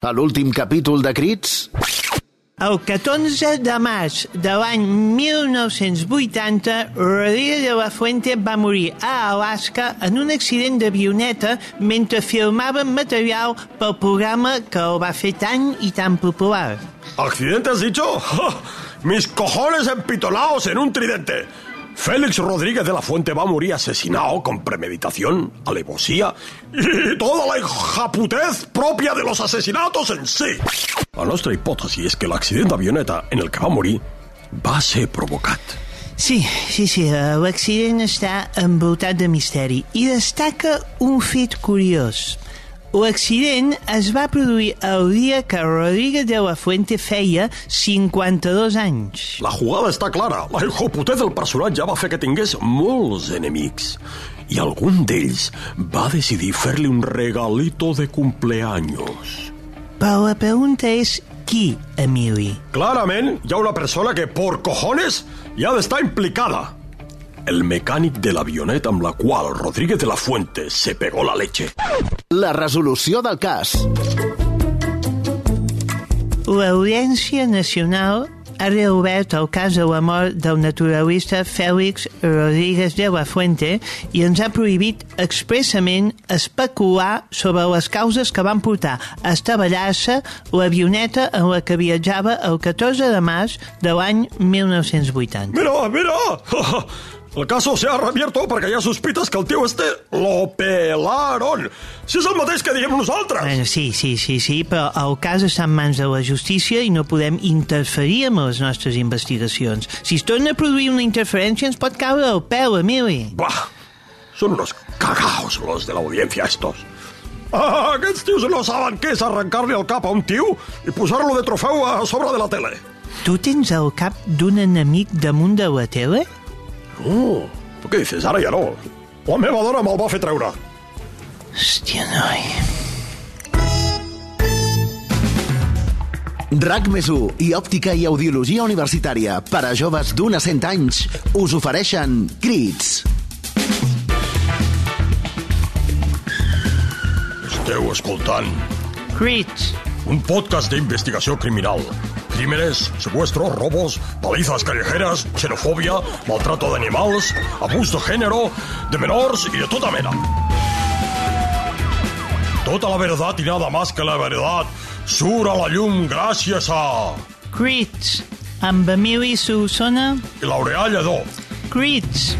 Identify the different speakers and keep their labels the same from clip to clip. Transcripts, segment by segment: Speaker 1: A l'últim capítol de Crits...
Speaker 2: El 14 de març de l'any 1980, Rodríguez de la Fuente va morir a Alaska en un accident d'avioneta mentre filmava material pel programa que el va fer tan i tan popular.
Speaker 3: ¿Accidente has dicho? ¡Ja! Mis cojones empitolados en un tridente. Félix Rodríguez de la Fuente va a morir asesinado con premeditación, alevosía y toda la hijaputez propia de los asesinatos en sí. La nuestra hipótesis es que el accidente de avioneta en el que va a morir va ser provocat.
Speaker 2: Sí, sí, sí, eh, l'accident està envoltat de misteri i destaca un fet curiós. L'accident es va produir el dia que Rodríguez de la Fuente feia 52 anys.
Speaker 3: La jugada està clara. La hijaputez del personatge va fer que tingués molts enemics. I algun d'ells va decidir fer-li un regalito de cumpleaños.
Speaker 2: Però la pregunta és qui, Emili?
Speaker 3: Clarament hi ha una persona que, por cojones, hi ha d'estar implicada. El mecànic de l'avioneta amb la qual Rodríguez de la Fuente se pegó la leche.
Speaker 1: La resolució del cas.
Speaker 2: L'Audiència Nacional ha reobert el cas de la mort del naturalista Félix Rodríguez de la Fuente i ens ha prohibit expressament especular sobre les causes que van portar a estavellar-se l'avioneta en la que viatjava el 14 de març de l'any 1980.
Speaker 3: Mira, mira! El caso se ha reabierto perquè hi ha sospites que el tio este lo pelaron. Si és el mateix que diem nosaltres.
Speaker 2: Bueno, Eh, sí, sí, sí, sí, però el cas està en mans de la justícia i no podem interferir amb les nostres investigacions. Si es torna a produir una interferència ens pot caure el peu, Emili.
Speaker 3: Bah, són unos cagaos los de l'audiència estos. Ah, aquests tios no saben què és arrencar-li el cap a un tio i posar-lo de trofeu a sobre de la tele.
Speaker 2: Tu tens el cap d'un enemic damunt de la tele?
Speaker 3: No, però Oh, què dices? Ara ja no. La meva dona me'l va fer treure.
Speaker 2: Hòstia, noi...
Speaker 1: RAC més 1 i Òptica i Audiologia Universitària per a joves d'un a 100 anys us ofereixen Crits.
Speaker 3: Esteu escoltant
Speaker 2: Crits.
Speaker 3: un podcast de investigación criminal. Crímenes, secuestros, robos, palizas callejeras, xenofobia, maltrato de animales, abuso de género, de menores y de toda mena. Tota la verdad y nada más que la verdad sur a la llum gracias a...
Speaker 2: Crits. Amb Emili Solsona,
Speaker 3: I L'Oreal Lledó.
Speaker 2: Crits.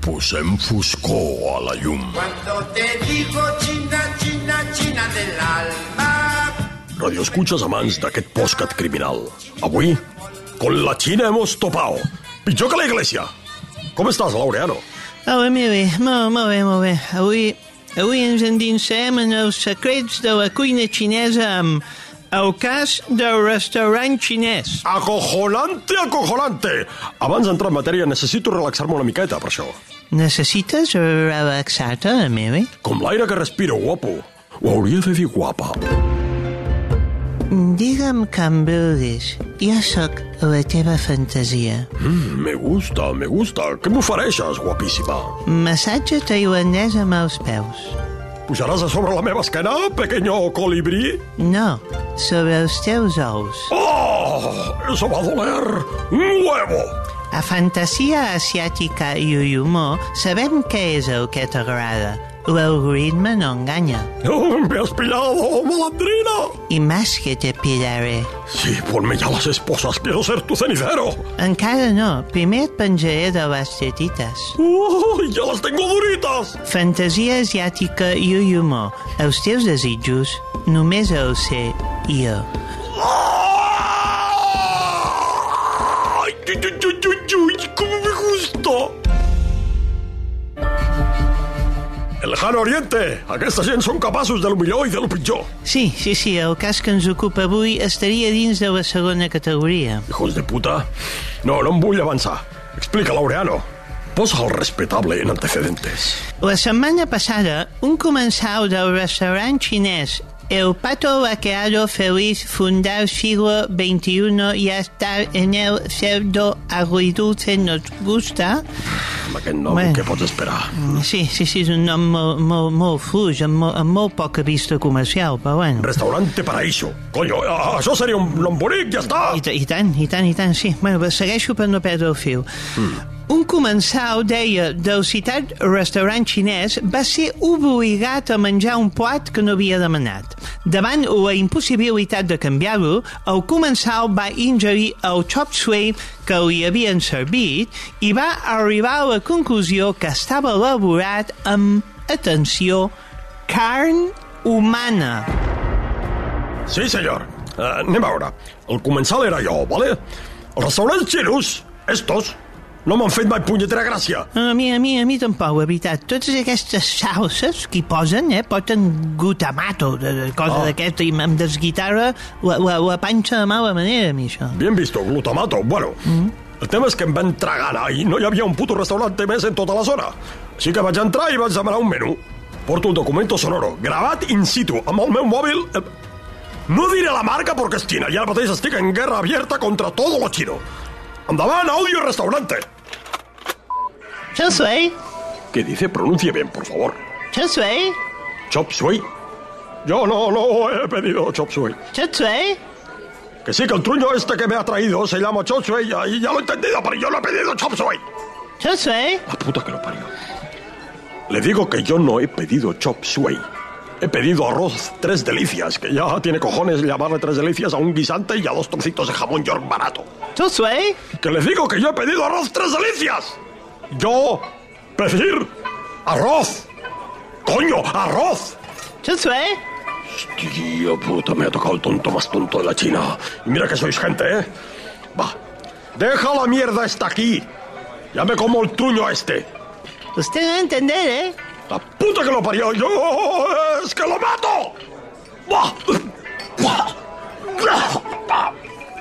Speaker 3: Posem foscor a la llum.
Speaker 4: Cuando te digo China, China, China del alma,
Speaker 3: Radioescuchas amants d'aquest podcast criminal. Avui, con la Xina hemos topado. Pitjor que la iglesia. Com estàs, Laureano?
Speaker 2: Oh, Emili, molt, molt bé, molt bé. Avui, avui ens endinsem en els secrets de la cuina xinesa amb el cas del restaurant xinès.
Speaker 3: Acojonante, acojonante! Abans d'entrar en matèria necessito relaxar-me una miqueta, per això.
Speaker 2: Necessites relaxar-te, Emili?
Speaker 3: Com l'aire que respiro, guapo. Ho hauria de dir guapa.
Speaker 2: Digue'm que em vulguis. Jo sóc la teva fantasia.
Speaker 3: Mm, me gusta, me gusta. Què m'ofereixes, guapíssima?
Speaker 2: Massatge tailandès amb els peus.
Speaker 3: Pujaràs a sobre la meva esquena, pequeño colibrí?
Speaker 2: No, sobre els teus ous.
Speaker 3: Oh, eso va a doler. Un huevo!
Speaker 2: A fantasia asiàtica i el humor sabem què és el que t'agrada. L'algoritme no enganya.
Speaker 3: Oh, me has pillado, malandrina!
Speaker 2: Y más que te pillaré.
Speaker 3: Sí, ponme ya las esposas, quiero ser tu cenicero.
Speaker 2: Encara no, primer et penjaré de les tetites.
Speaker 3: Uy, ya las tengo duritas.
Speaker 2: Fantasia asiàtica i el humor. Els teus desitjos només els sé jo.
Speaker 3: ¡Ay, ay, ay, ay, ay, cómo me gusta! El Jano Oriente, aquesta gent són capaços del millor i del pitjor.
Speaker 2: Sí, sí, sí, el cas que ens ocupa avui estaria dins de la segona categoria.
Speaker 3: Hijos de puta. No, no em vull avançar. Explica, Laureano. Posa el respetable en antecedentes.
Speaker 2: La setmana passada, un comensal del restaurant xinès El pato vaqueado feliz fundar siglo XXI y estar en el cerdo agridulce nos gusta.
Speaker 3: Amb aquest nom,
Speaker 2: Bueno.
Speaker 3: què pots esperar?
Speaker 2: Sí, sí, sí, és un nom molt, molt, molt fluix, amb, molt, amb molt poca vista comercial, però bueno.
Speaker 3: Restaurante Paraíso. Coño, a- això seria un nom bonic, ja està.
Speaker 2: I, ta- I tant, i tant, i tant, sí. Bueno, però segueixo per no perdre el fil. Mm. Un comensal, deia, del citat restaurant xinès va ser obligat a menjar un plat que no havia demanat. Davant la impossibilitat de canviar-lo, el comensal va ingerir el chop suey que li havien servit i va arribar a la conclusió que estava elaborat amb, atenció, carn humana.
Speaker 3: Sí, senyor. Uh, anem a veure. El comensal era jo, vale? Els restaurants xinos, estos, no m'han fet mai punyetera gràcia.
Speaker 2: No, no, a mi, a mi, a mi tampoc, la veritat. Totes aquestes salses que hi posen, eh, porten glutamato, de, de cosa
Speaker 3: Oh.
Speaker 2: oh. d'aquesta, i em desguitarra la, la, la panxa de mala manera, a mi, això.
Speaker 3: Bien visto, glutamato. Bueno, el tema és que em van tragar anar i no hi havia un puto restaurant més en tota la zona. Així que vaig entrar i vaig demanar un menú. Porto un documento sonoro, gravat in situ, amb el meu mòbil... eh, No diré la marca perquè és xina i ara mateix estic en guerra abierta contra todo lo chino. Endavant, audio restaurante.
Speaker 2: Chop suey,
Speaker 3: ¿Qué dice? Pronuncie bien, por favor.
Speaker 2: chop suey,
Speaker 3: Chop suey. Yo no, no he pedido chop suey.
Speaker 2: chop suey.
Speaker 3: Que sí, que el truño este que me ha traído se llama chop suey y ya lo he entendido, pero yo no he pedido chop suey.
Speaker 2: Chop suey.
Speaker 3: La puta que lo parió. Le digo que yo no he pedido chop suey. He pedido arroz tres delicias, que ya tiene cojones llamarle tres delicias a un guisante y a dos trocitos de jamón york barato.
Speaker 2: Chop suey.
Speaker 3: Que les digo que yo he pedido arroz tres delicias. Yo pedir arroz. Coño, arroz.
Speaker 2: Chop suey.
Speaker 3: Tío puta, me ha tocado el tonto más tonto de la China. Y mira que sois gente, ¿eh? Va. Deja la mierda esta aquí. Ya me como el truño este.
Speaker 2: Usted no va a entender, Doncs eh.
Speaker 3: La puta que lo parió yo es que lo mato. Buah. Buah. Buah.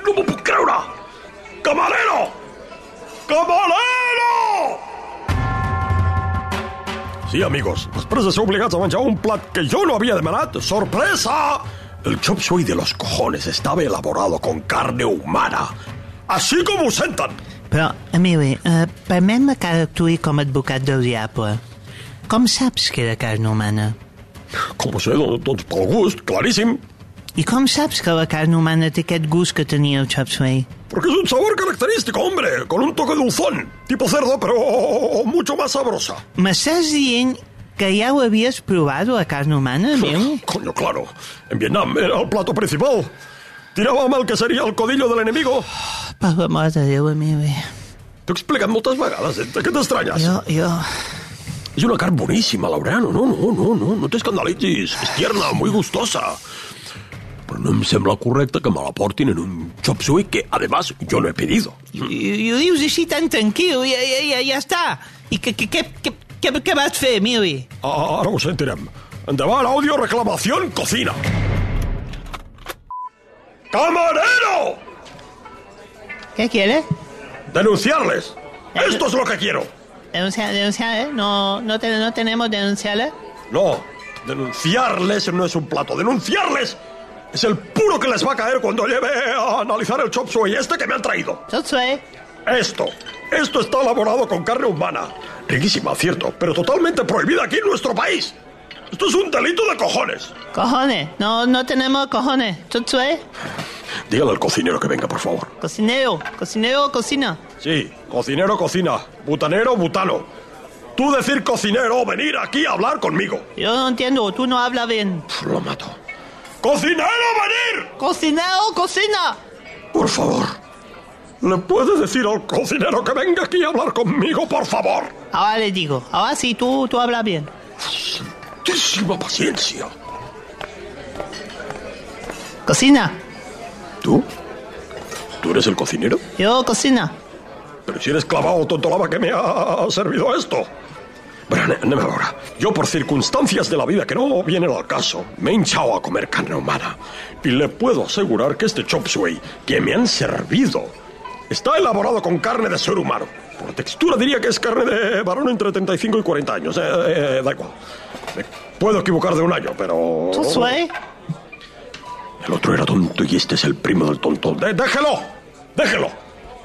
Speaker 3: No m'ho puc creure. Camarero! Camarero! Sí, amigos, després de ser obligats a menjar un plat que jo no havia demanat, sorpresa! El chop suey de los cojones estaba elaborado con carne humana. Así como sentan.
Speaker 2: Però, Emili, eh, permet-me que ara actuï com a advocat del diable. Com saps que era carn humana?
Speaker 3: Com ho sé, doncs, doncs pel gust, claríssim.
Speaker 2: I com saps que la carn humana té aquest gust que tenia el chop suey?
Speaker 3: Porque es un sabor característico, hombre, con un toque dulzón, tipo cerdo, pero mucho más sabrosa.
Speaker 2: M'estàs dient que ja ho havies provat, la carn humana, meu?
Speaker 3: Coño, claro, en Vietnam era el plato principal. Tiraba mal que sería el codillo del enemigo.
Speaker 2: Per la mort de Déu, meu.
Speaker 3: T'ho he explicat moltes vegades, eh? De què t'estranyes?
Speaker 2: Jo, jo...
Speaker 3: És una carn boníssima, Laureano. No, no, no, no, no t'escandalitzis. És tierna, muy gustosa. Però no em sembla correcte que me la portin en un chop suey que, además, yo no he pedido.
Speaker 2: I, i ho dius així tan tranquil, ja, ja, ja, ja està. I què, què, què, què, què, què vas fer, Emili?
Speaker 3: Ah, Ara ho sentirem. Endavant, audio, reclamación, cocina. ¡Camarero!
Speaker 2: Què quiere?
Speaker 3: ¡Denunciarles!
Speaker 2: Eh,
Speaker 3: ¡Esto es lo que quiero!
Speaker 2: Denunciar, denunciar, eh? No, no, te, no tenemos denunciar, eh?
Speaker 3: No, denunciarles no es un plato. ¡Denunciarles! Es el puro que les va a caer cuando lleve a analizar el chop suey este que me han traído.
Speaker 2: Chop suey.
Speaker 3: Esto, esto está elaborado con carne humana. Riquísima, cierto, pero totalmente prohibida aquí en nuestro país. Esto es un delito de cojones.
Speaker 2: Cojones. No, no tenemos cojones. Chop suey.
Speaker 3: Dígale al cocinero que venga, por favor.
Speaker 2: Cocinero. Cocinero, cocina.
Speaker 3: Sí, cocinero cocina, butanero butano. Tú decir cocinero, venir aquí a hablar conmigo.
Speaker 2: Yo no entiendo, tú no hablas bien.
Speaker 3: Pf, lo mato. ¡Cocinero, venir!
Speaker 2: Cocinero, cocina.
Speaker 3: Por favor. ¿Le puedes decir al cocinero que venga aquí a hablar conmigo, por favor?
Speaker 2: Ahora le digo. Ahora sí, tú, tú hablas bien.
Speaker 3: Santísima paciencia.
Speaker 2: Cocina.
Speaker 3: ¿Tú? ¿Tú eres el cocinero?
Speaker 2: Yo cocina.
Speaker 3: Pero si eres clavado, tontolaba, que me ha servido esto. Pero ne- anem a veure. Jo, per circumstàncies de la vida que no vienen al caso, me he hinchado a comer carne humana. Y le puedo asegurar que este chop suey que me han servido está elaborado con carne de ser humano. Por textura diría que es carne de varón entre 35 y eh, 40 años. Eh, eh, da igual. Me puedo equivocar de un año, pero...
Speaker 2: Chop suey.
Speaker 3: El otro era tonto y este es el primo del tonto. De- ¡Déjelo! ¡Déjelo!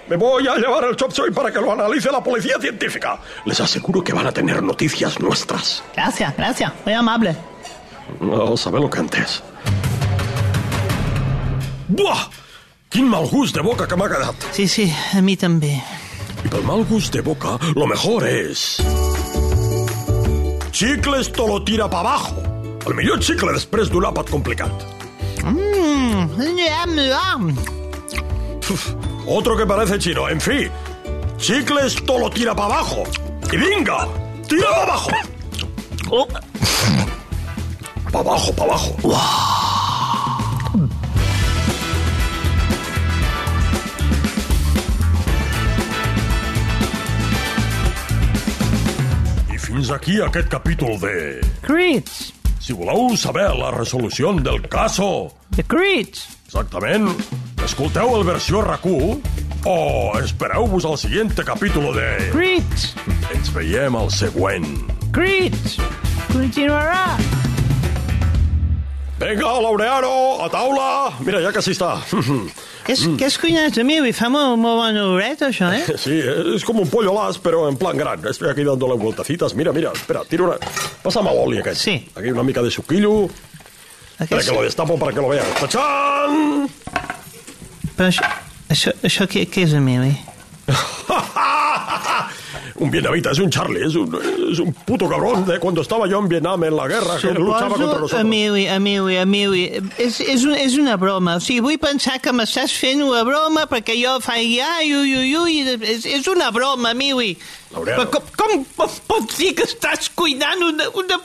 Speaker 3: Me voy a llevar al Chop Suey para que lo analice la policía científica. Les aseguro que van a tener noticias nuestras.
Speaker 2: Gracias, gracias. Muy amable.
Speaker 3: No saber lo que antes. Buah! Quin mal gust de boca que m'ha quedat.
Speaker 2: Sí, sí, a mi també.
Speaker 3: I pel mal gust de boca, lo mejor és... Xicles to lo tira pa abajo. El millor xicle després d'un àpat complicat. Uf, otro que parece chino. En fin, chicles todo lo tira para abajo. ¡Y venga! ¡Tira para abajo!
Speaker 2: Oh,
Speaker 3: Para abajo, para abajo. I fins aquí aquest capítol de...
Speaker 2: crits,
Speaker 3: Si voleu saber la resolució del caso,
Speaker 2: the crits.
Speaker 3: Exactament. Escolteu el versió RAC1 o espereu-vos al siguiente capítol de...
Speaker 2: Crits,
Speaker 3: Ens veiem al següent.
Speaker 2: crits. Continuarà.
Speaker 3: Vinga, Laureano, a taula! Mira, ja quasi està.
Speaker 2: Que és, mm. que és cuinat de mi, avui fa molt, molt bona horeta, això, eh?
Speaker 3: Sí, és com un pollo las, però en plan gran. Estic aquí dándole vueltecitas. Mira, mira, espera, tira una... Passa'm a l'oli aquest.
Speaker 2: Sí.
Speaker 3: Aquí una mica de suquillo. Espera que lo destapo para que lo veas. ¡Tachán!
Speaker 2: Però això, això, això què, què és, Emili?
Speaker 3: un vietnamita, es un Charlie, es un, es un puto cabrón de cuando estaba yo en Vietnam en la guerra, que luchaba contra
Speaker 2: Suposo,
Speaker 3: nosotros.
Speaker 2: Emili, Emili, Emili, és, és, un, és una broma. O sigui, vull pensar que m'estàs fent una broma perquè jo faig ai, ui, ui, ui, i de- és, és una broma, Emili.
Speaker 3: Laureano.
Speaker 2: Però com, com po- pots dir que estàs cuinant una... una...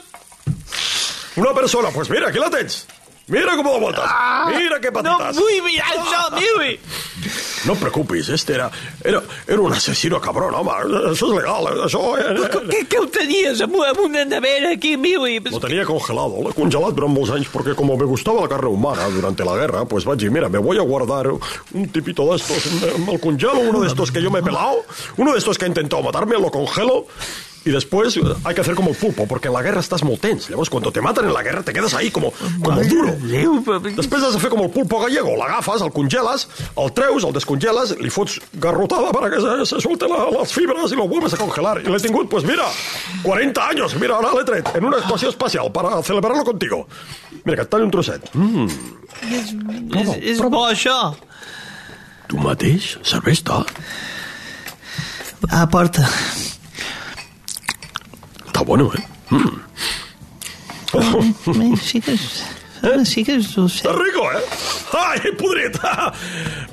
Speaker 3: Una persona, pues mira, aquí la tens. Mira com de voltes. Ah, Mira que
Speaker 2: Ah,
Speaker 3: Ah.
Speaker 2: No
Speaker 3: patates.
Speaker 2: vull mirar això, Emili.
Speaker 3: No et preocupis, este era, era, era un asesino cabrón, home. Això és legal, això...
Speaker 2: Com,
Speaker 3: Eh, eh,
Speaker 2: què, què ho tenies amb, amb una nevera aquí, Emili?
Speaker 3: Lo tenía congelado, lo he congelado durante molts anys porque como me gustaba la carne humana durante la guerra, pues vaig dir, mira, me voy a guardar un tipito de estos, me, me lo congelo, uno de estos que yo me he pelado, uno de estos que ha intentado matarme, lo congelo, y después eh, hay que hacer como el pulpo, porque en la guerra estás molt tens, llavors cuando te matan en la guerra te quedas ahí como, como duro.
Speaker 2: Déu, però...
Speaker 3: Després has de fer com el pulpo gallego, l'agafes, el congeles, el treus, el descongeles, li fots garrotada para que se, se suelten la- les fibres i lo vuelves a congelar. I l'he tingut, pues mira, 40 anys, mira, ara l'he tret, en una actuació espacial, para celebrarlo contigo. Mira, que et talli un trosset. Mm.
Speaker 2: És, és, és bo, això.
Speaker 3: Tu mateix? Serveix ta?
Speaker 2: A Ah, porta.
Speaker 3: Està bueno, eh? Mm. Oh,
Speaker 2: Sí que és... Sí que és dolcet.
Speaker 3: Está rico, eh? Ai, podrit!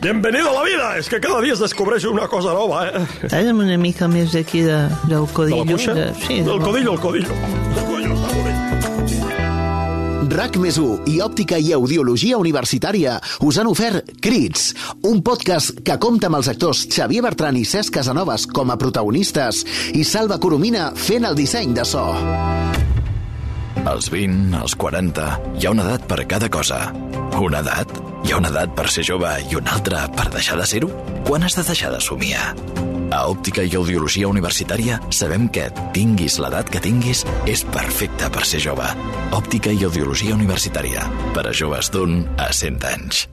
Speaker 3: Bienvenido a la vida! És que cada dia es descobreix una cosa nova, eh?
Speaker 2: Talla'm una mica més d'aquí de, del
Speaker 3: De
Speaker 2: codillo.
Speaker 3: la cuixa?
Speaker 2: de- eh, sí,
Speaker 3: Del
Speaker 2: de-
Speaker 3: codillo, el codillo. El codillo està molt bé.
Speaker 1: RAC més 1 i Òptica i Audiologia Universitària us han ofert Crits, un podcast que compta amb els actors Xavier Bertran i Cesc Casanovas com a protagonistes i Salva Coromina fent el disseny de so.
Speaker 5: Als 20, als 40, hi ha una edat per cada cosa. Una edat? Hi ha una edat per ser jove i una altra per deixar de ser-ho? Quan has de deixar de somiar? A Òptica i Audiologia Universitària sabem que, tinguis l'edat que tinguis, és perfecta per ser jove. Òptica i Audiologia Universitària, per a joves d'un a 100 anys.